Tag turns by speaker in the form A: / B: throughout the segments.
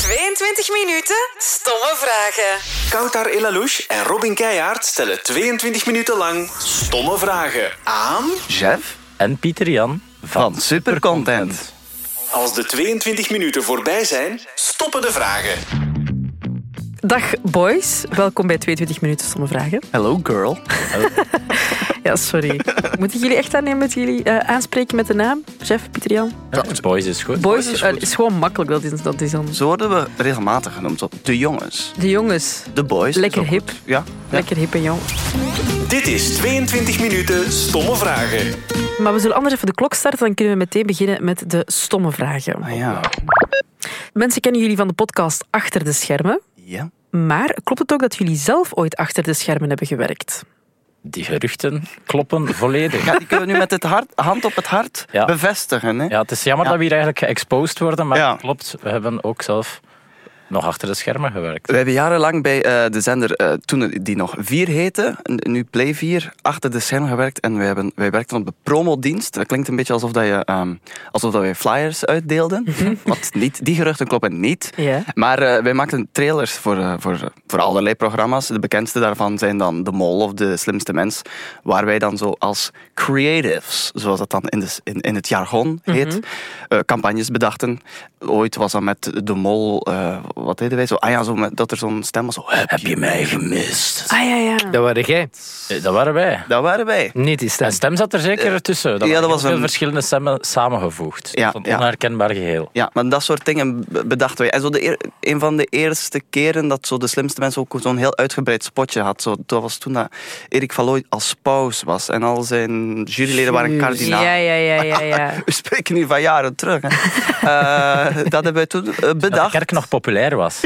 A: 20 minuten stomme vragen.
B: Koutar Elalouche en Robin Keijaard stellen 22 minuten lang stomme vragen aan...
C: Jeff
D: en Pieter Jan.
C: van Supercontent.
B: Als de 22 minuten voorbij zijn, stoppen de vragen.
E: Dag boys, welkom bij 22 minuten stomme vragen.
C: Hello girl.
E: Ja, sorry. Moet ik jullie echt aannemen met jullie eh, aanspreken met de naam? Chef Pieter Jan?
D: Ja, boys is goed.
E: Boys is, eh, is gewoon makkelijk, dat is, dat is dan...
C: Zo worden we regelmatig genoemd. zo. De jongens.
E: De jongens,
C: De boys.
E: Lekker
C: Zo goed.
E: hip.
C: Ja. ja.
E: lekker hip en jong.
B: Dit is 22 minuten stomme vragen.
E: Maar we zullen anders even de klok starten, dan kunnen we meteen beginnen met de stomme vragen.
C: Ah, ja.
E: Mensen kennen jullie van de podcast Achter de Schermen,
C: Ja.
E: maar klopt het ook dat jullie zelf ooit achter de schermen hebben gewerkt?
D: Die geruchten kloppen volledig.
C: Ja, die kunnen we nu met het hart, hand op het hart
D: Ja.
C: bevestigen. Hè?
D: Ja, het is jammer
C: Ja.
D: dat we hier eigenlijk geëxposed worden, maar
C: Ja.
D: klopt, we hebben ook zelf nog achter de schermen gewerkt.
C: We hebben jarenlang bij eh, de zender, eh, toen die nog 4 heette, n- nu Play 4, achter de scherm gewerkt. En wij, hebben, wij werkten op de promodienst. Dat klinkt een beetje alsof, dat je, ehm, alsof dat wij flyers uitdeelden. Wat niet, die geruchten kloppen niet.
E: Ja.
C: Maar eh, wij maakten trailers voor, eh, voor, voor allerlei programma's. De bekendste daarvan zijn dan De Mol of De Slimste Mens. Waar wij dan zo als creatives, zoals dat dan in, de, s- in, in het jargon heet, eh, campagnes bedachten. Ooit was dat met De Mol, eh, wat deden wij zo? Ah ja, zo met, dat er zo'n stem was. Zo, Heb je mij gemist?
E: Ah ja, ja.
F: Dat waren jij.
D: Eh, Dat waren wij.
C: Dat waren wij.
F: Niet die stem.
D: Een stem zat er zeker tussen.
C: Eh, ja,
D: waren
C: dat
D: heel
C: was
D: veel
C: een-
D: verschillende stemmen samengevoegd.
C: Ja,
D: Dat was een
C: ja.
D: onherkenbaar geheel.
C: Ja, maar dat soort dingen b- bedachten wij. En zo de eer- een van de eerste keren dat zo de slimste mensen ook zo'n heel uitgebreid spotje had. Zo, dat was toen dat Erik Valooy als paus was. En al zijn juryleden waren kardinaal.
E: Ja, ja, ja, ja, ja.
C: We spreken nu van jaren terug. Hè. Eh, dat hebben wij toen eh,
D: Dat de
C: bedacht.
D: kerk nog populair was.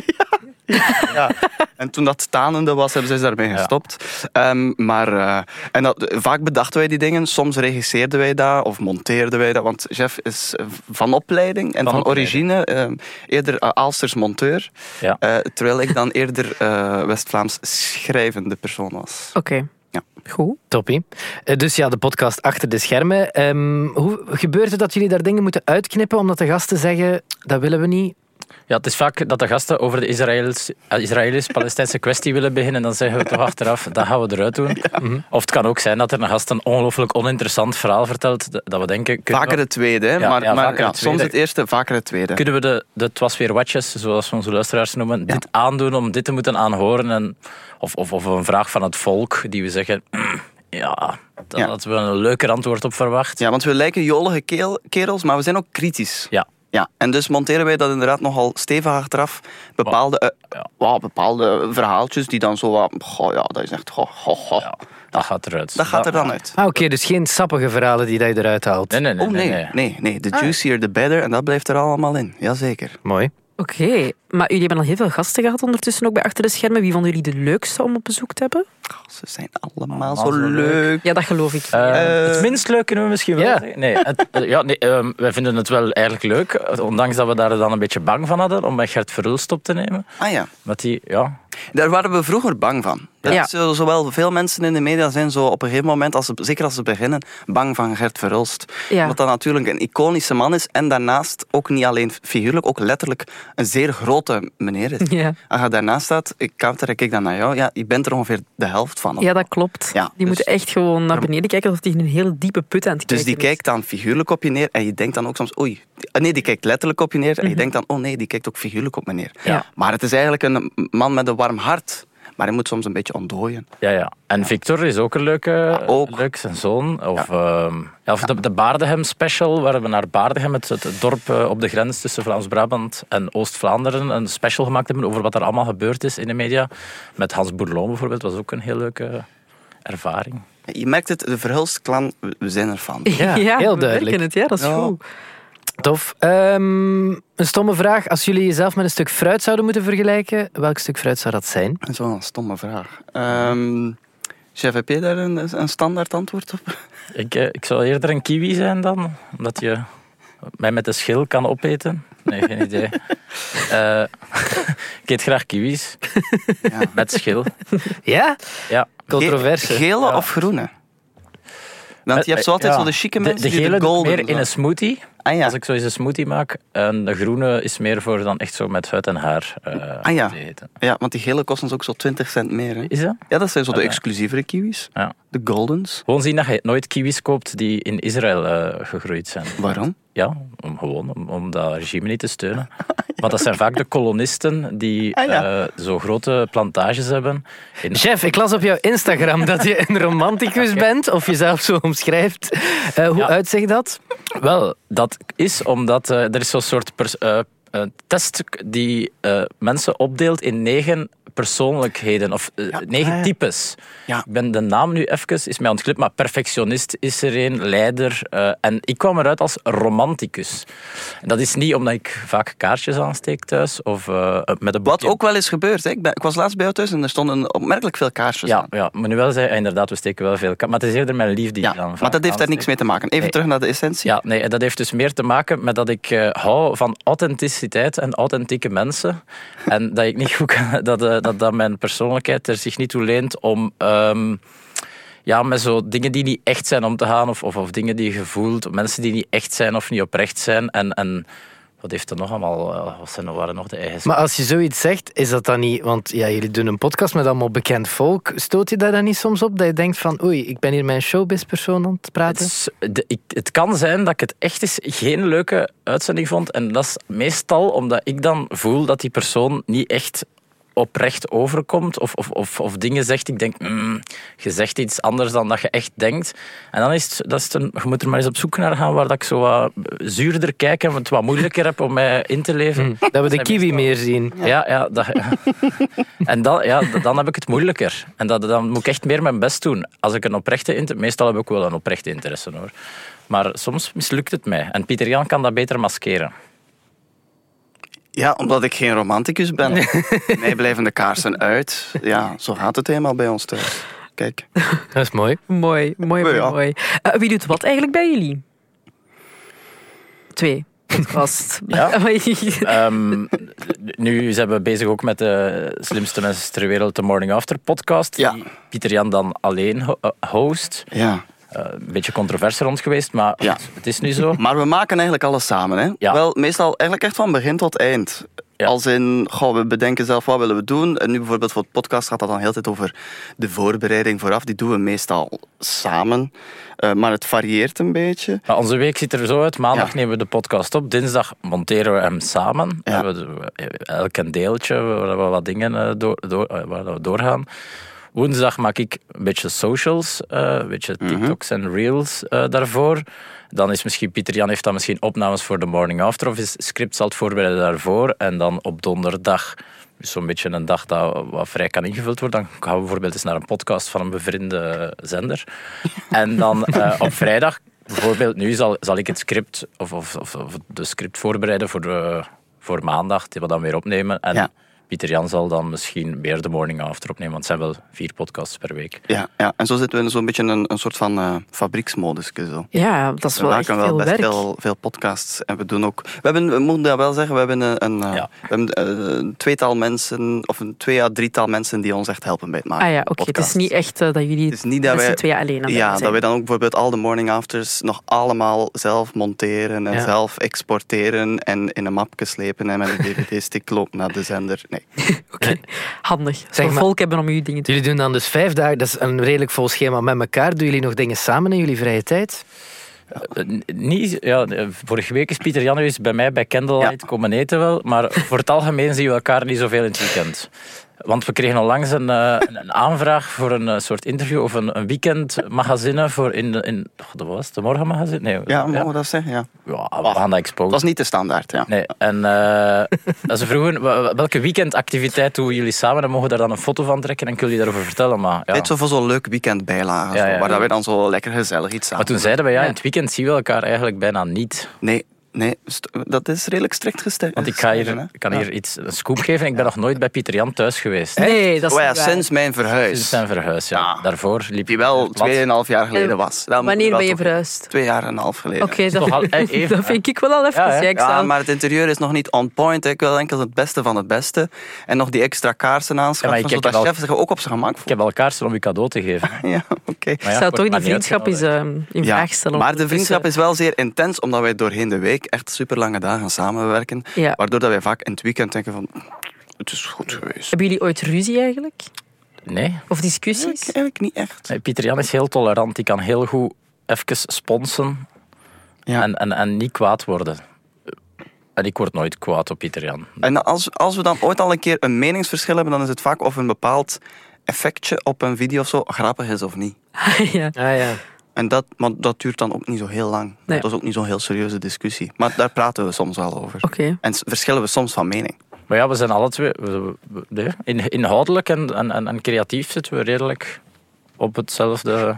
C: En toen dat tanende was, hebben ze daarmee gestopt. Ehm, maar, eh, en dat, vaak bedachten wij die dingen. Soms regisseerden wij dat of monteerden wij dat. Want Jeff is eh, van opleiding en van,
D: Van opleiding.
C: origine ehm, eerder eh, Aalsters monteur.
D: Ja.
C: Eh, terwijl ik dan eerder eh, West-Vlaams schrijvende persoon was.
E: Oké.
C: Ja.
E: Goed.
F: Toppie. Eh, Dus ja, de podcast achter de schermen. Ehm, hoe gebeurt het dat jullie daar dingen moeten uitknippen omdat de gasten zeggen dat willen we niet?
D: Ja, het is vaak dat de gasten over de Israëls- eh, Israëlisch-Palestijnse kwestie willen beginnen. En dan zeggen we toch achteraf, dat gaan we eruit doen. Mhm. Of het kan ook zijn dat er een gast een ongelooflijk oninteressant verhaal vertelt. Dat we denken, kunnen
C: Vaker
D: we,
C: het tweede, hè,
D: Ja,
C: maar,
D: ja,
C: maar
D: vaker
C: ja,
D: het tweede.
C: soms het eerste, vaker het tweede.
D: kunnen we de, de Het was weer watjes, zoals we onze luisteraars noemen, dit aandoen om dit te moeten aanhoren? En, of, of, of een vraag van het volk die we zeggen, "Mm, ja, daar
C: Ja.
D: hadden we een leuker antwoord op verwacht.
C: Ja, want we lijken jolige keel- kerels, maar we zijn ook kritisch.
D: Ja.
C: Ja, en dus monteren wij dat inderdaad nogal stevig achteraf. Bepaalde, eh,
D: Ja.
C: wauw, bepaalde verhaaltjes die dan zo wat... Goh, ja, dat is echt... Goh, goh, goh.
D: Ja, dat gaat eruit.
C: Dat gaat er dan uit.
F: Ah, oké, dus geen sappige verhalen die dat je eruit haalt.
D: Nee, nee, nee.
C: Oh nee, nee, nee. The juicier, the better. En dat blijft er allemaal in. Jazeker.
F: Mooi.
E: Oké, maar jullie hebben al heel veel gasten gehad ondertussen ook bij Achter de Schermen. Wie vonden jullie de leukste om op bezoek te hebben?
C: Goh, ze zijn allemaal
D: Allemaal
C: zo
D: zo leuk.
C: leuk.
E: Ja, dat geloof ik.
D: Eh, het minst leuk kunnen we misschien wel
F: Ja.
D: zeggen. Nee, het, eh, ja, nee ehm, wij vinden het wel eigenlijk leuk. eh, Ondanks dat we daar dan een beetje bang van hadden om met Gert Verhulst op te nemen.
C: Ah ja,
D: Want die, ja,
C: daar waren we vroeger bang van. Dat
E: Ja.
C: is zo- Zowel veel mensen in de media zijn zo op een gegeven moment, als ze, zeker als ze beginnen, bang van Gert Verhulst.
E: Ja.
C: Wat dan natuurlijk een iconische man is en daarnaast ook niet alleen figuurlijk, ook letterlijk een zeer grote meneer is.
E: Ja.
C: Als je daarnaast staat, ik kijk er kijk dan naar jou, ja, je bent er ongeveer de helft van.
E: ja, dat klopt.
C: Ja,
E: die
C: dus-
E: moeten echt gewoon naar beneden kijken alsof die in een heel diepe put aan het
C: Dus
E: kijken
C: die
E: is.
C: kijkt dan figuurlijk op je neer en je denkt dan ook soms, oei. Ah, Nee, die kijkt letterlijk op je neer en je denkt dan, oh nee, die kijkt ook figuurlijk op me neer.
E: Mhm. Ja.
C: Maar het is eigenlijk een man met een warm hart. Maar hij moet soms een beetje ontdooien.
D: ja, ja. En Victor is ook een leuke,
C: ook.
D: leuk zijn zoon. Of, ehm, ja, of de, de Baardegem special, waar we naar Baardegem, het, het dorp eh, op de grens tussen Vlaams-Brabant en Oost-Vlaanderen, een special gemaakt hebben over wat er allemaal gebeurd is in de media. Met Hans Boerloon bijvoorbeeld, was ook een heel leuke ervaring.
C: Je merkt het, de Verhulst-clan, we we zijn ervan.
F: Ja, heel duidelijk.
E: We merken het, ja, dat is
C: Ja.
E: goed.
F: Tof. Ehm, een stomme vraag. Als jullie jezelf met een stuk fruit zouden moeten vergelijken, welk stuk fruit zou dat zijn?
C: Dat is wel een stomme vraag. Ehm chef, heb je daar een, een standaard antwoord op?
D: Ik, eh, ik zou eerder een kiwi zijn dan, omdat je mij met de schil kan opeten. Nee, geen idee. Eh, ik eet graag kiwis. Met schil.
F: Ja?
D: Ja.
F: Controverse.
C: Ge- gele of groene? Want je hebt zo altijd
D: Ja.
C: zo de chique mensen
D: Eh, de, de
C: die
D: gele
C: de
D: doe ik
C: golden...
D: meer in een smoothie.
C: Ah ja.
D: Als ik zo eens een smoothie maak, en de groene is meer voor dan echt zo met huid en haar eh,
C: Ah ja.
D: te eten.
C: ja, want die gele kosten ons ook zo 20 cent meer. Hè?
D: Is dat?
C: Ja, dat zijn zo de
D: Ah, ja.
C: exclusievere kiwis.
D: Ja.
C: De goldens.
D: Gewoon zien dat je nooit kiwis koopt die in Israël eh, gegroeid zijn.
C: Waarom?
D: Ja, om, gewoon om, om dat regime niet te steunen. Want dat zijn vaak de kolonisten die
C: Ah, ja.
D: eh, zo grote plantages hebben. In,
F: Chef, ik las op jouw Instagram dat je een romanticus bent, of jezelf zo omschrijft. Eh, hoe
D: Ja.
F: uitzicht dat?
D: Wel, dat is omdat eh, er is zo'n soort pers- eh, eh, test die eh, mensen opdeelt in negen persoonlijkheden of eh, negen
C: ah, ja.
D: types.
C: Ja.
D: Ik ben de naam nu even, is mij ontglipt, maar perfectionist is er een, leider. eh, en ik kwam eruit als romanticus. En dat is niet omdat ik vaak kaarsjes aansteek thuis of eh, met
C: Wat
D: een boekje.
C: ook wel is gebeurd. Hè? Ik, ben- ik was laatst bij jou thuis en er stonden opmerkelijk veel kaarsjes
D: Ja,
C: aan.
D: ja, maar nu wel zei hij inderdaad, we steken wel veel ka- Maar het is eerder mijn lief die
C: Ja,
D: ik dan
C: maar dat heeft daar
D: aansteek.
C: niks mee te maken. Even
D: Nee.
C: terug naar de essentie.
D: Ja, nee, dat heeft dus meer te maken met dat ik eh, hou van authenticiteit en authentieke mensen. En dat ik niet goed kan, dat, eh, dat, dat mijn persoonlijkheid er zich niet toe leent om ehm, ja, met zo dingen die niet echt zijn om te gaan, of, of, of dingen die je voelt, mensen die niet echt zijn of niet oprecht zijn. En, en wat heeft er nog allemaal, eh, wat zijn, waren nog de eigenschappen?
F: Maar als je zoiets zegt, is dat dan niet... Want ja, jullie doen een podcast met allemaal bekend volk. Stoot je daar dan niet soms op dat je denkt van... Oei, ik ben hier mijn showbiz-persoon aan het praten?
D: Het, is- de- ik- het kan zijn dat ik het echt eens geen leuke uitzending vond. En dat is meestal omdat ik dan voel dat die persoon niet echt oprecht overkomt of, of, of, of dingen zegt. Ik denk, "Mm, je zegt iets anders dan dat je echt denkt. En dan is het, dat is het een, je moet er maar eens op zoek naar gaan waar dat ik zo wat zuurder kijk en het wat moeilijker heb om mij in te leven.
F: Dat we de
D: zijn
F: kiwi meer zien.
D: Ja, ja. Dat, En dan, ja, d- dan heb ik het moeilijker. En dat, dan moet ik echt meer mijn best doen. Als ik een oprechte interesse... Meestal heb ik wel een oprechte interesse, hoor. Maar soms mislukt het mij. En Pieter Jan kan dat beter maskeren.
C: Ja, omdat ik geen romanticus ben. Nee, blijven de kaarsen uit. Ja, zo gaat het helemaal bij ons thuis. Kijk.
F: Dat is mooi.
E: Mooi,
C: Nou
E: mooi, mooi.
C: ja.
E: mooi. Eh, wie doet wat eigenlijk bij jullie? Twee. Podcast.
D: Ja. Ehm, nu zijn we bezig ook met de slimste mensen ter wereld, de Morning After podcast.
C: Ja.
D: Die Pieter Jan dan alleen ho- eh, host.
C: Ja.
D: Eh, een beetje controverse rond geweest, maar
C: Ja.
D: het is nu zo.
C: Maar we maken eigenlijk alles samen. Hè?
D: Ja.
C: Wel, meestal eigenlijk echt van begin tot eind.
D: Ja.
C: Als in, goh, we bedenken zelf wat willen we doen. En nu bijvoorbeeld voor het podcast gaat dat dan heel de tijd over de voorbereiding vooraf. Die doen we meestal samen. Eh, maar het varieert een beetje.
D: Maar onze week ziet er zo uit. Maandag
C: Ja.
D: nemen we de podcast op. Dinsdag monteren we hem samen.
C: Ja.
D: We, we- elk een deeltje waar we wat dingen eh, door, door, eh, waar we doorgaan. Woensdag maak ik een beetje socials, eh, een beetje
C: Mhm.
D: TikToks en Reels eh, daarvoor. Dan is misschien Pieter Jan heeft dan misschien opnames voor de morning after of is scripts al het voorbereiden daarvoor. En dan op donderdag, dus zo'n beetje een dag dat wat vrij kan ingevuld worden. Dan gaan we bijvoorbeeld eens naar een podcast van een bevriende zender. En dan eh, op vrijdag, bijvoorbeeld nu, zal, zal ik het script of, of, of, of de script voorbereiden voor, eh, voor maandag, die we dan weer opnemen. En
C: Ja.
D: Pieter Jan zal dan misschien weer de morning after opnemen, want het zijn wel vier podcasts per week.
C: Ja, ja. En zo zitten we in zo'n beetje een, een soort van eh fabrieksmodus. Zo.
E: ja, dat is
C: We
E: wel echt
C: maken wel
E: veel
C: best
E: werk.
C: Veel, veel podcasts. En we doen ook. We, hebben, we moeten dat wel zeggen, we hebben een, een, eh,
D: Ja.
C: we hebben, eh, een tweetal mensen, of een twee à drietal mensen die ons echt helpen bij het maken.
E: Ah ja,
C: van
E: oké. Het is
C: podcasts.
E: niet echt eh, dat jullie
C: Het is niet dat
E: met z'n
C: wij-
E: tweeën alleen aan
C: Ja,
E: het
C: dat
E: zijn.
C: wij dan ook bijvoorbeeld al de morning afters nog allemaal zelf monteren en
F: Ja.
C: zelf exporteren en in een mapje slepen en met een dvd-stick lopen naar de zender. Nee.
E: Handig.
F: Zeg
E: Zeg
F: maar-
E: volk hebben om jullie dingen te
F: Jullie doen dan dus vijf dagen, dat is een redelijk vol schema met elkaar. Doen jullie nog dingen samen in jullie vrije tijd?
D: Eh, n- niet, ja, eh, vorige week is Pieter Jan geweest bij mij bij Candlelight komen eten wel, maar voor het algemeen zien we elkaar niet zoveel in het weekend. Want we kregen onlangs een, eh, een een aanvraag voor een eh, soort interview of een, een weekendmagazine voor in, de- in oh, dat was het, de morgenmagazine? Nee,
C: Ja, mogen we dat zeggen? Ja.
D: Ja, we gaan dat
C: Dat
D: exposen.
C: was niet de standaard, ja.
D: Nee, en eh ze vroegen wa- wa- welke weekendactiviteit doen jullie samen en mogen we daar dan een foto van trekken en kunnen jullie daarover vertellen. Maar, ja.
C: Dit zo voor zo'n leuk weekend bijlagen,
D: Ja, ja.
C: waar dat wij dan zo lekker gezellig iets aan
D: maar toen zeiden we, ja, in het weekend zien we elkaar eigenlijk bijna niet.
C: Nee, Nee, st- dat is redelijk strikt gesteld.
D: Want ik ga hier, ik kan hier iets, een scoop geven. Ik ben nog nooit bij Pieter Jan thuis geweest.
E: Nee, dat is
C: Oh ja,
E: niet waar.
C: sinds mijn
D: Sinds
C: verhuis.
D: zijn verhuis, ja.
C: Ah.
D: Daarvoor liep
C: Die wel
D: op het plat.
C: 2,5 jaar geleden
E: En
C: was. Dan moet
E: Wanneer
C: wel
E: ben je
C: toch-
E: verhuisd?
C: Twee jaar en een half geleden.
E: Oké, dat,
D: Toch al even,
E: dat vind ik wel al even.
D: Ja, hè?
E: Ja, ik
C: Ja,
E: zou-
C: maar het interieur is nog niet on point. hè. Ik wil enkel het beste van het beste. En nog die extra kaarsen
D: Ja, maar ik
C: aanschaffen,
D: heb
C: zodat
D: wel-
C: chef zich ook op zijn gemak
D: Ik
C: voelt.
D: heb wel kaarsen om je cadeau te geven. Maar
C: Ja, oké.
D: ja,
E: zou
D: wordt
E: toch
D: maar
E: die
D: niet
E: vriendschap eens
D: uitgenodigd.
E: eh, in vraag stellen. eh,
C: maar de vriendschap
E: ondertussen.
C: is wel zeer intens, omdat wij doorheen de week echt super lange dagen samenwerken.
E: Ja.
C: Waardoor dat wij vaak in het weekend denken van, het is goed geweest.
E: Hebben jullie ooit ruzie eigenlijk?
D: Nee.
E: Of discussies?
C: Eigenlijk niet echt.
D: Nee, Pieter Jan is heel tolerant. Die kan heel goed even sponsen
C: Ja.
D: en, en, en niet kwaad worden. En ik word nooit kwaad op Pieter Jan.
C: En als, als we dan ooit al een keer een meningsverschil hebben, dan is het vaak of een bepaald effectje op een video of zo grappig is of niet.
E: ja.
F: Ah ja.
C: En dat, maar dat duurt dan ook niet zo heel lang.
E: Nee.
C: Dat is ook niet zo'n heel serieuze discussie. Maar daar praten we soms wel over.
E: Oké.
C: En s- verschillen we soms van mening.
D: Maar ja, we zijn alle twee... we- we- nee, in, inhoudelijk en, en, en, en creatief zitten we redelijk op hetzelfde...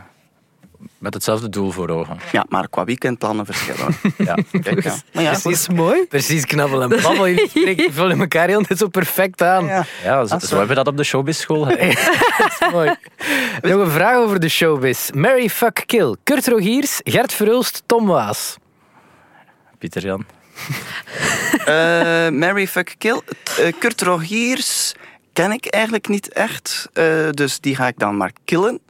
D: Met hetzelfde doel voor ogen.
C: Ja, maar qua weekendplannen verschillen we.
D: Ja.
C: Kijk, ja. Maar ja, goed.
F: Precies mooi. Precies knabbel en babbel. Jullie spreken- vullen elkaar heel net zo perfect aan.
C: Ja.
D: Ja, zo,
C: sorry.
D: zo hebben we dat op de showbizschool.
F: Mooi. Nog een vraag over de showbiz. Mary Fuck Kill. Kurt Rogiers, Gert Verhulst, Tom Waas.
D: Pieter Jan.
C: Eh, Mary Fuck Kill. Eh, Kurt Rogiers ken ik eigenlijk niet echt. eh, dus die ga ik dan maar killen.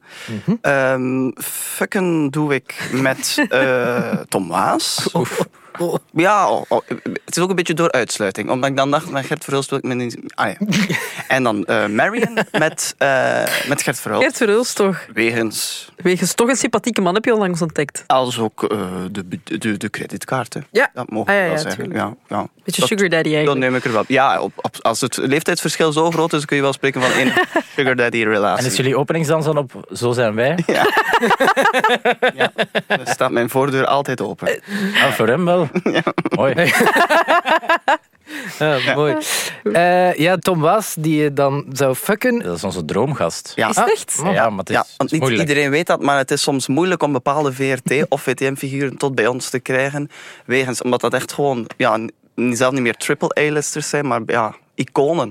C: Ehm, fucken doe ik met eh, Tom Waas.
F: Oh.
C: Ja, oh, oh, het is ook een beetje door uitsluiting. Omdat ik dan dacht, met Gert Verhulst wil ik me niet... Ah ja. En dan eh, Marion met, eh, met Gert Verhulst.
E: Gert Verhulst toch?
C: Wegens
E: Wegens toch een sympathieke man heb je onlangs ontdekt.
C: als ook eh, de, de, de creditkaarten.
E: Ja.
C: Dat mogen
E: Ah,
C: we
E: ja,
C: wel
E: ja,
C: zeggen.
E: tuurlijk.
C: Ja, ja.
E: Beetje
C: Dat-
E: sugar daddy
C: Dan
E: eigenlijk.
C: neem ik er wel. Ja, op, op- als het leeftijdsverschil zo groot is, kun je wel spreken van een sugar daddy
D: En is
C: relatie.
D: jullie openingsdans dan op Zo zijn wij?
C: Dan staat mijn voordeur altijd open.
D: Ah, voor hem wel. Mooi.
F: Ah, mooi. Eh, ja, Tom Waas, die je dan zou fucken.
D: Dat is onze droomgast.
C: Ja.
E: Is het echt?
D: Ja, ja, maar het is,
C: Ja,
D: het
C: want
D: is
C: niet
D: moeilijk.
C: iedereen weet dat, maar het is soms moeilijk om bepaalde VRT- of VTM-figuren tot bij ons te krijgen. Wegens, omdat dat echt gewoon, ja, n- zelf niet meer triple A-listers zijn, maar ja, iconen.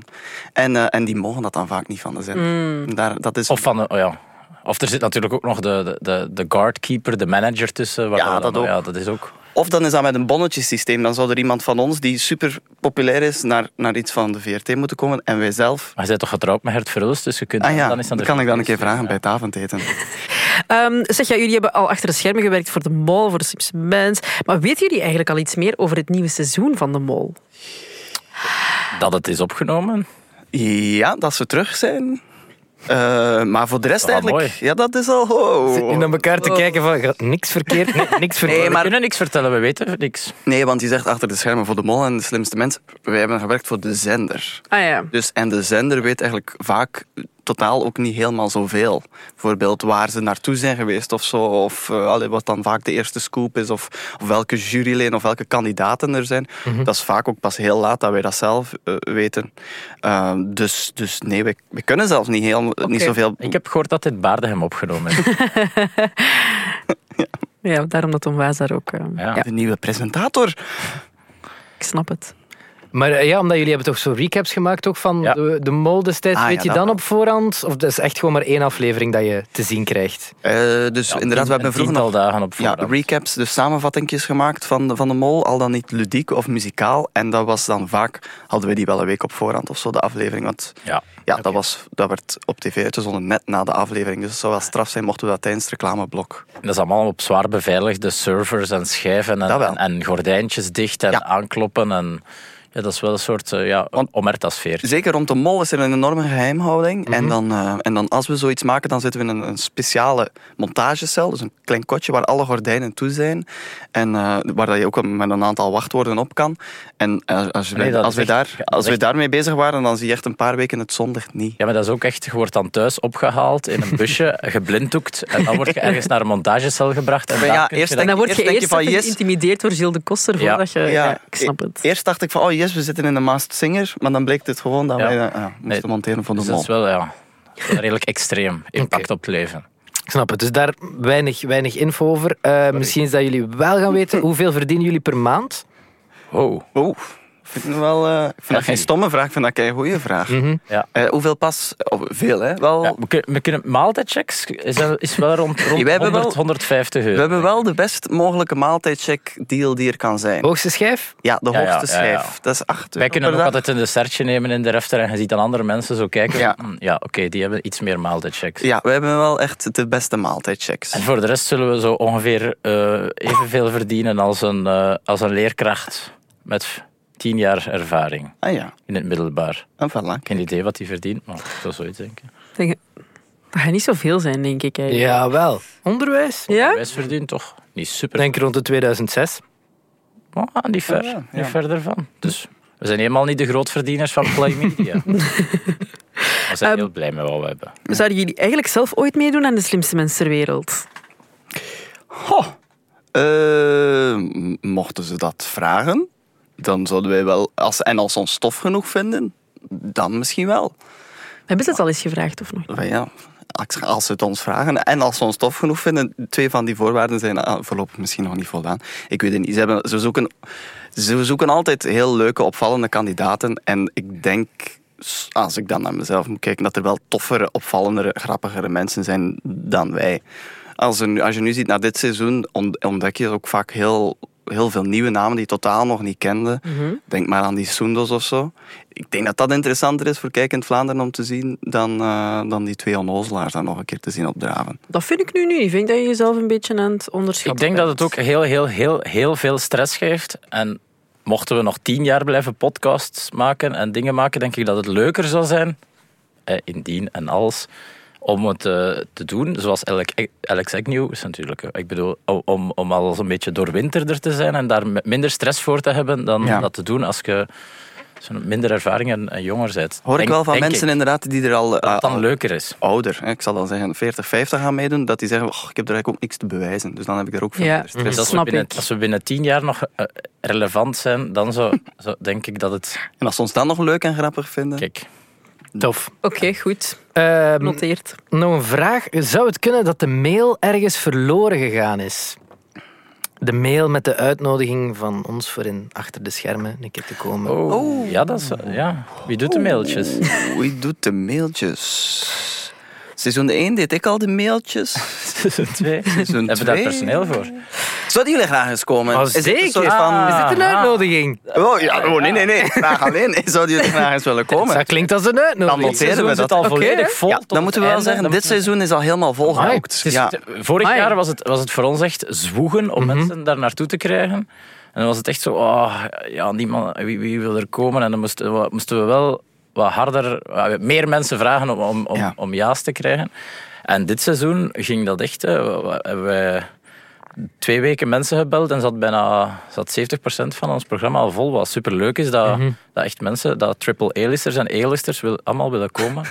C: En, eh, en die mogen dat dan vaak niet van de zin. Daar, dat is,
D: Hmm. Of van, de- oh ja. Of er zit natuurlijk ook nog de, de- de, de guardkeeper, de manager tussen. waar
C: Ja,
D: we dan-
C: dat ook.
D: Ja, dat is ook.
C: of dan is dat met een bonnetjesysteem. Dan zou er iemand van ons, die super populair is, naar, naar iets van de VRT moeten komen. En wij zelf.
D: Maar je bent toch getrouwd met Hert Verhulst, dus je kunt...
C: Ah ja,
D: dan is
C: dat
D: de
C: kan ik dan een keer
D: vriendin.
C: vragen bij het avondeten.
E: Ehm, zeg, ja, jullie hebben al achter de schermen gewerkt voor De Mol, voor de Simpsons. Maar weten jullie eigenlijk al iets meer over het nieuwe seizoen van De Mol?
D: Dat het is opgenomen.
C: Ja, dat ze terug zijn. Eh, maar voor de rest
D: Ah,
C: eigenlijk...
D: mooi.
C: Ja, dat is al...
F: En
C: Oh.
F: naar elkaar te kijken van, gaat niks verkeerd, nee, niks verkeerd.
D: Nee,
C: Nee,
D: maar...
C: maar-
D: We kunnen niks vertellen, we weten niks.
C: Nee, want je zegt achter de schermen voor de mol en de slimste mens. Wij hebben gewerkt voor de zender.
E: Ah ja.
C: Dus, en de zender weet eigenlijk vaak totaal ook niet helemaal zoveel. Bijvoorbeeld waar ze naartoe zijn geweest of zo. Of eh, allee, wat dan vaak de eerste scoop is. Of, of welke juryleden of welke kandidaten er zijn.
D: Mhm.
C: Dat is vaak ook pas heel laat dat wij dat zelf eh, weten. Eh, dus, dus nee, we, we kunnen zelfs niet, heel, niet zoveel...
D: Ik heb gehoord dat dit Baarden hem opgenomen heeft.
E: Ja, daarom dat Tom Waas daar ook... ehm,
D: Ja.
E: ja.
C: De nieuwe presentator.
E: ik snap het.
F: Maar eh, ja, omdat jullie hebben toch zo recaps gemaakt ook van
D: Ja.
F: de, de mol destijds.
C: Ah,
F: Weet
C: ja,
F: je
C: dat
F: dan
C: wel.
F: op voorhand? Of dat is echt gewoon maar één aflevering dat je te zien krijgt?
C: Eh, dus inderdaad, we hebben
D: een
C: vroeger
D: tiental
C: nog
D: dagen op
C: ja,
D: voorhand.
C: recaps, dus samenvattingjes gemaakt van de, van de mol, al dan niet ludiek of muzikaal. En dat was dan vaak, hadden we die wel een week op voorhand of zo, de aflevering. Want
D: Ja.
C: ja, dat, was, dat werd op tv uitgezonden net na de aflevering. Dus het zou wel straf zijn mochten we dat tijdens het reclameblok.
D: En Dat is allemaal op zwaar beveiligde servers en schijven en,
C: Dat wel.
D: en, en gordijntjes dicht en
C: Ja.
D: aankloppen. En, ja, dat is wel een soort eh, ja,
C: Want-
D: omerta-sfeer.
C: Zeker rond de mol is er een enorme geheimhouding.
D: Mhm.
C: en, dan, eh, en dan als we zoiets maken, dan zitten we in een, een speciale montagecel. Dus een klein kotje waar alle gordijnen toe zijn. En eh, waar dat je ook met een aantal wachtwoorden op kan. En eh, als, we,
D: Nee, dat
C: als,
D: is
C: we, daar,
D: echt- ja, dat
C: als
D: is
C: we
D: echt-
C: daarmee bezig waren, dan zie je echt een paar weken het zonlicht niet.
D: Ja, maar dat is ook echt, je wordt dan thuis opgehaald in een busje, geblinddoekt en dan word je ergens naar een montagecel gebracht. En
C: Maar
D: daar
C: ja,
D: kun je
C: eerst
D: dan-
E: En dan word
C: Eerst
E: je
C: denk je
E: eerst
C: van,
E: even
C: yes.
E: geïntimideerd door Gilles de Koster.
D: Ja.
E: Voordat je, ja. ik snap
C: e-
E: het.
C: Eerst dacht ik van, oh yes, we zitten in een Maast Singer. Maar dan bleek het gewoon dat
D: Ja.
C: wij eh, ja, moesten
D: Nee,
C: monteren van de
D: Dus dat
C: mol.
D: is wel ja, redelijk extreem impact op het leven.
F: Ik snap het. Dus daar weinig, weinig info over. Eh, misschien is dat jullie wel gaan weten. Hoeveel verdienen jullie per maand?
D: Wow.
C: Oeh, vind ik wel. eh, ik vind dat geen stomme vraag, ik vind dat een goede vraag.
D: Mhm. Ja.
C: Eh, hoeveel pas? oh, veel, hè? Wel,
D: Ja, we, kunnen, we kunnen maaltijdchecks is, is wel rond, rond
C: We hebben
D: 100,
C: wel-
D: 150 euro.
C: We hebben wel de best mogelijke maaltijdcheck deal die er kan zijn.
F: Hoogste schijf?
C: Ja, de
D: Ja, ja,
C: hoogste
D: ja, ja.
C: schijf. Dat is 8
D: Wij
C: euro
D: kunnen
C: per
D: ook
C: dag.
D: altijd een dessertje nemen in de refter en je ziet dan andere mensen zo kijken.
C: Ja.
D: Ja, ja oké, die hebben iets meer maaltijdchecks.
C: Ja, we hebben wel echt de beste maaltijdchecks.
D: En voor de rest zullen we zo ongeveer eh, evenveel verdienen als een, eh, als een leerkracht met tien jaar ervaring
C: Ah ja,
D: in het middelbaar.
C: en voilà.
D: Geen idee wat die verdient, maar ik zou zoiets denken.
E: Denk- Dat gaat niet zoveel zijn, denk ik. Eigenlijk.
F: Jawel. Onderwijs?
E: Ja?
D: Wijs verdient toch niet super.
F: Denk rond de 2006.
D: Maar niet ver,
C: Ah, Ja, ja.
D: niet verder van. Dus we zijn helemaal niet de grootverdieners van Play Media. we zijn
E: Ehm,
D: heel blij met wat we hebben.
E: Zouden jullie eigenlijk zelf ooit meedoen aan de slimste mensen ter wereld?
C: Goh. Eh, m- mochten ze dat vragen, dan zouden wij wel... Als, en als ze ons tof genoeg vinden, dan misschien wel.
E: Hebben ze dat al eens gevraagd of nog? niet?
C: Maar ja, als- als ze het ons vragen en als ze ons tof genoeg vinden, twee van die voorwaarden zijn ah, voorlopig misschien nog niet voldaan. Ik weet het niet. Ze, hebben, ze, zoeken, ze zoeken altijd heel leuke, opvallende kandidaten. En ik denk, s- als ik dan naar mezelf moet kijken, dat er wel toffere, opvallendere, grappigere mensen zijn dan wij. Als, er nu, als je nu ziet naar dit seizoen, ont- ontdek je ook vaak heel, heel veel nieuwe namen die je totaal nog niet kende.
D: Mhm.
C: Denk maar aan die Soendos of zo. Ik denk dat dat interessanter is voor Kijkend Vlaanderen om te zien dan, eh, dan die twee onnozelaars dan nog een keer te zien opdraven.
E: Dat vind ik nu niet. Ik vind dat je jezelf een beetje aan het onderschatten
D: Ik denk dat
E: bent.
D: het ook heel, heel, heel, heel veel stress geeft. En mochten we nog tien jaar blijven podcasts maken en dingen maken, denk ik dat het leuker zou zijn, eh, indien en als, om het eh, te doen zoals Alex, Alex Agnew is natuurlijk. eh, Ik bedoel, o- om, om al zo'n beetje doorwinterder te zijn en daar m- minder stress voor te hebben dan
C: Ja.
D: dat te doen als je zo'n minder ervaring en, en jonger bent.
C: Hoor
D: Denk-
C: ik wel van
D: denk
C: mensen
D: ik
C: inderdaad die er al,
D: dat
C: eh,
D: het dan
C: al
D: leuker is. Dus
C: ouder, hè, ik zal dan zeggen 40, 50 gaan meedoen, dat die zeggen, "Och, ik heb er eigenlijk ook niks te bewijzen. Dus dan heb ik er ook veel
E: Ja.
C: minder stress.
D: Dus als we,
E: Snap
D: binnen,
E: ik.
D: als we binnen tien jaar nog eh, relevant zijn, dan zo, zo denk ik dat het...
C: En als ze ons dan nog leuk en grappig vinden...
D: Kijk,
F: Tof.
E: Oké, goed.
F: Ehm,
E: Noteert.
F: nog een vraag. Zou het kunnen dat de mail ergens verloren gegaan is? De mail met de uitnodiging van ons voor in achter de schermen een keer te komen.
D: oh, ja, dat is, ja, wie doet de mailtjes?
C: Wie doet de mailtjes? Seizoen 1 deed ik al de mailtjes.
D: Seizoen 2.
C: Seizoen
D: Hebben we daar
C: Oh. twee?
D: personeel voor?
C: Zouden jullie graag eens komen?
F: Oh,
C: Is dit een
F: zeker.
C: soort van-
D: Ah.
F: Is dit een uitnodiging?
C: Oh, ja, oh, nee, nee, nee. Graag alleen. Zouden jullie graag eens willen komen?
F: Dat klinkt als een
C: Dan
F: uitnodiging.
C: noteren we
D: Seizoen
C: dat.
D: zit al
C: Oké,
D: volledig
C: hè?
D: vol
C: Ja,
D: tot
C: dan
D: het
C: moeten we wel
D: einde.
C: zeggen,
D: Dan
C: dit
D: moeten we-
C: seizoen is al helemaal volgehookt.
D: Het is-
C: Ja.
D: t- Vorig
E: Amai.
D: jaar was het, was het voor ons echt zwoegen om mensen daar naartoe te krijgen. En dan was het echt zo, oh, ja, niemand, wie, wie wil er komen? En dan moesten we, moesten we wel wat harder, eh, meer mensen vragen om, om, om,
C: Ja.
D: om ja's te krijgen. En dit seizoen ging dat echt. eh, we- we- Hebben wij twee weken mensen gebeld en zat bijna zat 70% van ons programma al vol. Wat superleuk is, dat, dat echt mensen, dat triple A-listers en A-listers wil, allemaal willen komen.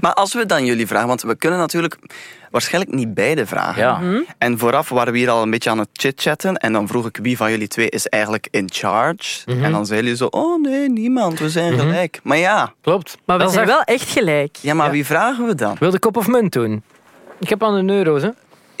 C: Maar als we dan jullie vragen, want we kunnen natuurlijk waarschijnlijk niet beide vragen.
D: Ja. Mhm.
C: En vooraf waren we hier al een beetje aan het chit-chatten. En dan vroeg ik wie van jullie twee is eigenlijk in charge.
D: Mhm.
C: En dan zeiden jullie zo: Oh nee, niemand, we zijn gelijk. Maar ja,
F: Klopt.
E: Maar we
F: Dat is
E: zijn
F: echt-
E: wel echt gelijk.
C: ja maar wie vragen we dan?
F: Wil de kop of munt doen? Ik heb al een euro's, hè?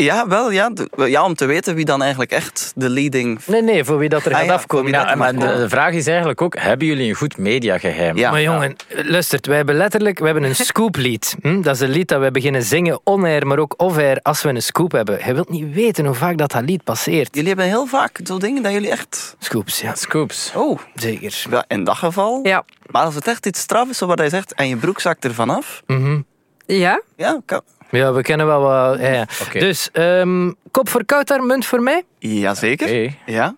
C: Ja, wel, ja, de- ja, om te weten wie dan eigenlijk echt de leading.
F: Nee, nee, voor wie dat er
C: Ah
F: gaat
C: ja, voor
F: afkomen.
C: wie
F: Ja,
C: dat
D: Ja,
C: er
F: maar-
D: maar
C: mag
D: de,
C: komen.
D: de vraag is eigenlijk ook, hebben jullie een goed mediageheim?
C: Ja.
F: Maar jongen, luistert, wij hebben letterlijk wij hebben een scooplied. Hm? Dat is een lied dat wij beginnen zingen on-air, maar ook off-air als we een scoop hebben. Je wilt niet weten hoe vaak dat, dat lied passeert.
C: Jullie hebben heel vaak zo dingen dat jullie echt.
F: Scoops, ja,
D: Scoops.
C: Oh,
F: zeker.
C: wel, in dat geval.
E: Ja.
C: Maar als het echt iets straf is, wat hij zegt, en je broek zakt er vanaf.
F: Mhm.
E: Ja?
C: Ja, kan.
F: Ja, we kennen wel wat. Ja, ja.
D: Oké.
F: Dus, ehm, kop voor Kouter, munt voor mij.
C: Jazeker.
D: Oké.
C: Ja.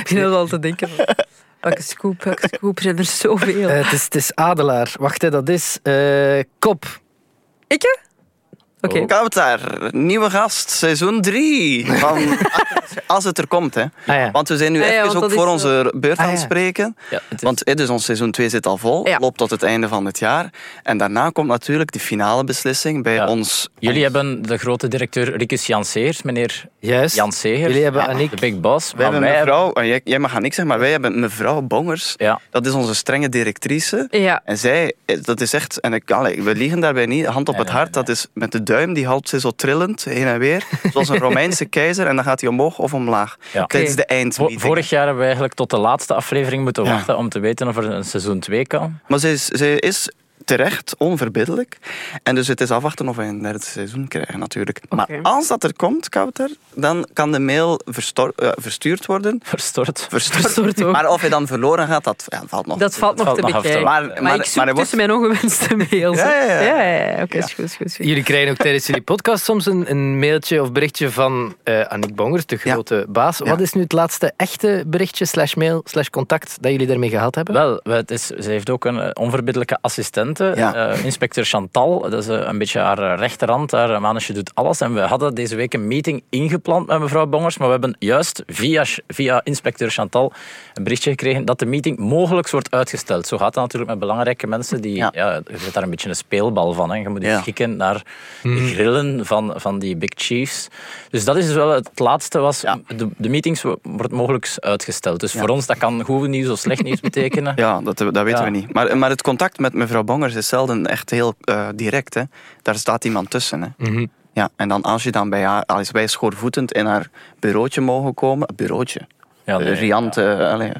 E: Ik zit al te denken. Welke scoop, welke scoop, er zijn er zoveel.
F: Eh, het, is, het is Adelaar. Wacht, hè, dat is eh, kop.
E: Ikke? Oké.
D: Oh.
C: Kouter, nieuwe gast, seizoen 3. Van, als het er komt, hè.
F: Ah, ja.
C: Want we zijn nu
E: Ah ja,
C: even
E: want
C: ook
E: dat is
C: voor
E: zo.
C: onze beurt
F: Ah
C: aan
F: ja.
C: het spreken.
D: Ja, het is-
C: Want eh, dus ons seizoen 2 zit al vol,
E: Ja.
C: loopt tot het einde van het jaar. En daarna komt natuurlijk de finale beslissing bij
D: Ja.
C: ons.
D: Jullie hebben de grote directeur Ricus Janseers, meneer
F: Juist.
D: Janseers.
F: Jullie hebben Annick.
D: De big boss.
C: We
D: maar
C: hebben
D: wij
C: mevrouw, eh, jij, jij mag aan niks zeggen, maar wij hebben mevrouw Bongers.
D: Ja.
C: Dat is onze strenge directrice.
E: Ja.
C: En zij, eh, dat is echt, en ik, allee, we liegen daarbij niet, hand op
D: Nee,
C: het
D: nee,
C: hart, dat is met de duim die houdt ze zo trillend heen en weer. Zoals een Romeinse keizer. En dan gaat hij omhoog of omlaag.
D: Ja.
C: Dit is de
D: Vo-
C: eindmeeting.
D: Vorig jaar hebben we eigenlijk tot de laatste aflevering moeten
C: Ja.
D: wachten om te weten of er een seizoen 2 kan.
C: Maar ze is, ze is terecht onverbiddelijk. En dus het is afwachten of wij een derde seizoen krijgen, natuurlijk. Maar als dat er komt, Kouter, dan kan de mail verstor- eh, verstuurd worden.
D: Verstort.
C: Verstuurd.
E: Verstuurd ook.
C: Maar of hij dan verloren gaat, dat ja, valt nog.
E: Dat valt nog
D: valt
E: te
D: nog af te
E: bekijken.
C: wachten.
E: Maar,
C: Maar- maar-
E: ik zoek
C: maar er wordt-
E: tussen mijn ongewenste mails.
C: Ja, ja, ja.
E: ja, Oké, is goed, is goed, is goed.
F: Jullie krijgen ook tijdens jullie podcast soms een, een mailtje of berichtje van eh Annick Bongers, de
C: Ja.
F: grote baas. Wat is nu het laatste echte berichtje, slash mail, slash contact dat jullie daarmee gehad hebben?
D: Wel, we- het is, ze heeft ook een eh, onverbiddelijke assistente,
C: Ja.
D: eh, inspecteur Chantal. Dat is eh, een beetje haar eh, rechterhand, haar eh, mannetje doet alles. En we hadden deze week een meeting ingepland met mevrouw Bongers, maar we hebben juist via, via inspecteur Chantal een berichtje gekregen dat de meeting mogelijk wordt uitgesteld. Zo gaat dat natuurlijk met belangrijke mensen. Die,
C: Ja.
D: ja. je zit daar een beetje een speelbal van. Hè. Je moet je
C: Ja.
D: schikken naar de grillen van, van die big chiefs. Dus dat is wel het laatste was,
C: Ja.
D: de, de meetings wo- wordt mogelijk uitgesteld. Dus voor ons, dat kan goed nieuws of slecht nieuws betekenen.
C: Ja, dat, dat weten
D: Ja.
C: we niet. Maar, maar het contact met mevrouw Bongers is zelden echt heel eh, direct. Hè. Daar staat iemand tussen. Hè.
D: Mhm.
C: Ja, en dan als, je dan bij haar, als wij schoorvoetend in haar bureautje mogen komen... Bureautje.
D: Ja, nee,
C: Eh, riante, eh, allee,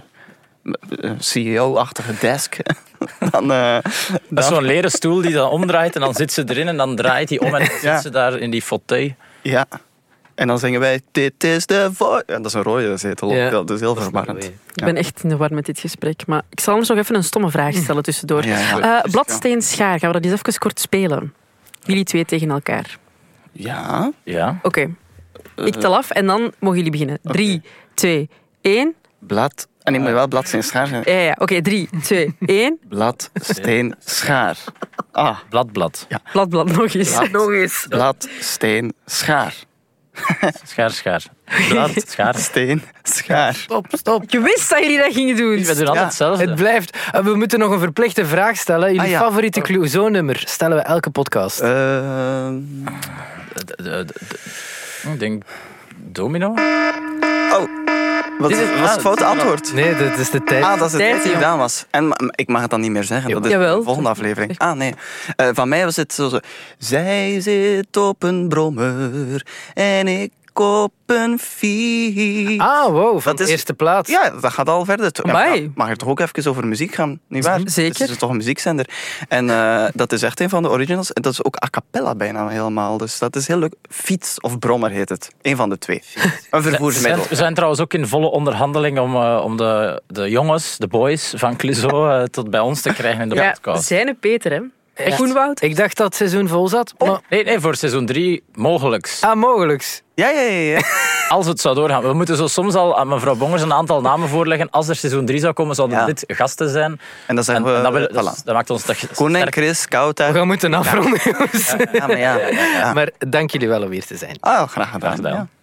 C: eh, CEO-achtige desk. dan, eh,
D: Dat
C: dan-
D: is zo'n leren stoel die dan omdraait en dan zit ze erin en dan draait hij om en dan
C: Ja.
D: zit ze daar in die fauteuil.
C: ja. En dan zingen wij, dit is de voice. Ja, dat is een rode zetel.
F: Ja.
C: Dat is heel
F: is een
C: verwarrend.
F: rode.
E: Ik ben echt in de war met dit gesprek. Maar ik zal anders nog even een stomme vraag stellen tussendoor.
C: Ja, ja.
E: Eh, Bladsteen Schaar, gaan we dat eens even kort spelen? Jullie twee tegen elkaar.
C: Ja.
D: Ja.
E: Oké, ik tel af en dan mogen jullie beginnen. Drie, twee, één.
C: Blad. En ik moet wel blad zijn schaar zijn.
E: Ja, ja, ja. oké. Drie, twee, één.
C: Blad, steen, schaar. Ah,
D: Blad, blad.
E: Blad, blad, nog eens. Nog eens.
C: blad, steen, schaar.
D: Schaar, schaar. Blad, schaar.
C: Steen, schaar.
F: Stop, stop.
E: Ik wist dat jullie dat gingen doen.
D: We doen altijd
C: Ja,
D: hetzelfde.
F: Het blijft. eh, we moeten nog een verplichte vraag stellen. Jullie
C: Ah, ja.
F: favoriete Clouseau-nummer stellen we elke podcast.
C: Eh,
D: De- de- de- de- Ik denk... Domino?
C: oh, wat
D: Dit is-
C: was het
D: ah,
C: foute
D: dit is
C: antwoord?
F: Nee, dat is de tijd.
C: Ah, dat is het
E: Tijd,
C: eerste die
E: jongen.
C: gedaan was. En maar, maar ik mag het dan niet meer zeggen. Dat is
E: Jawel.
C: de volgende aflevering. Ah, nee. Eh, van mij was het zo, zo. Zij zit op een brommer en ik op een fiets.
F: Ah, wow, van
C: Dat is-
F: de eerste plaats.
C: Ja, dat gaat al verder. Ja,
E: Amai.
C: maar ja, mag het toch ook even over muziek gaan, nietwaar?
E: Zeker.
C: Het is dus toch een muziekzender. En eh, dat is echt een van de originals. En dat is ook a cappella bijna helemaal. Dus dat is heel leuk. Fiets of brommer heet het. Eén van de twee. Een
D: We zijn,
C: vervoersmiddel.
D: we zijn trouwens ook in volle onderhandeling om, eh, om de, de jongens, de boys van Clouseau eh, tot bij ons te krijgen in de
E: Ja,
D: podcast.
E: zijne Peter, hè.
F: Echt?
E: Koenwoud.
F: Ik dacht dat het seizoen vol zat.
C: Oh.
F: Maar,
D: Nee, nee, voor seizoen 3 mogelijks.
F: ah, mogelijks.
C: Ja, ja, ja. ja.
D: Als het zou doorgaan. We moeten zo soms al aan mevrouw Bongers een aantal namen voorleggen. Als er seizoen 3 zou komen, zouden
C: Ja.
D: dit gasten zijn.
C: En dan
D: En,
C: zeggen
D: en dat,
C: we...
D: wil- dat,
C: voilà.
D: dat maakt ons toch
C: Koen en
D: sterk.
C: Chris, Kouter.
F: We gaan moeten afronden, jongens.
C: Ja, maar ja. ja.
F: Maar dank jullie wel om hier te zijn.
C: Ah, graag gedaan.
D: gedaan.
C: Ja.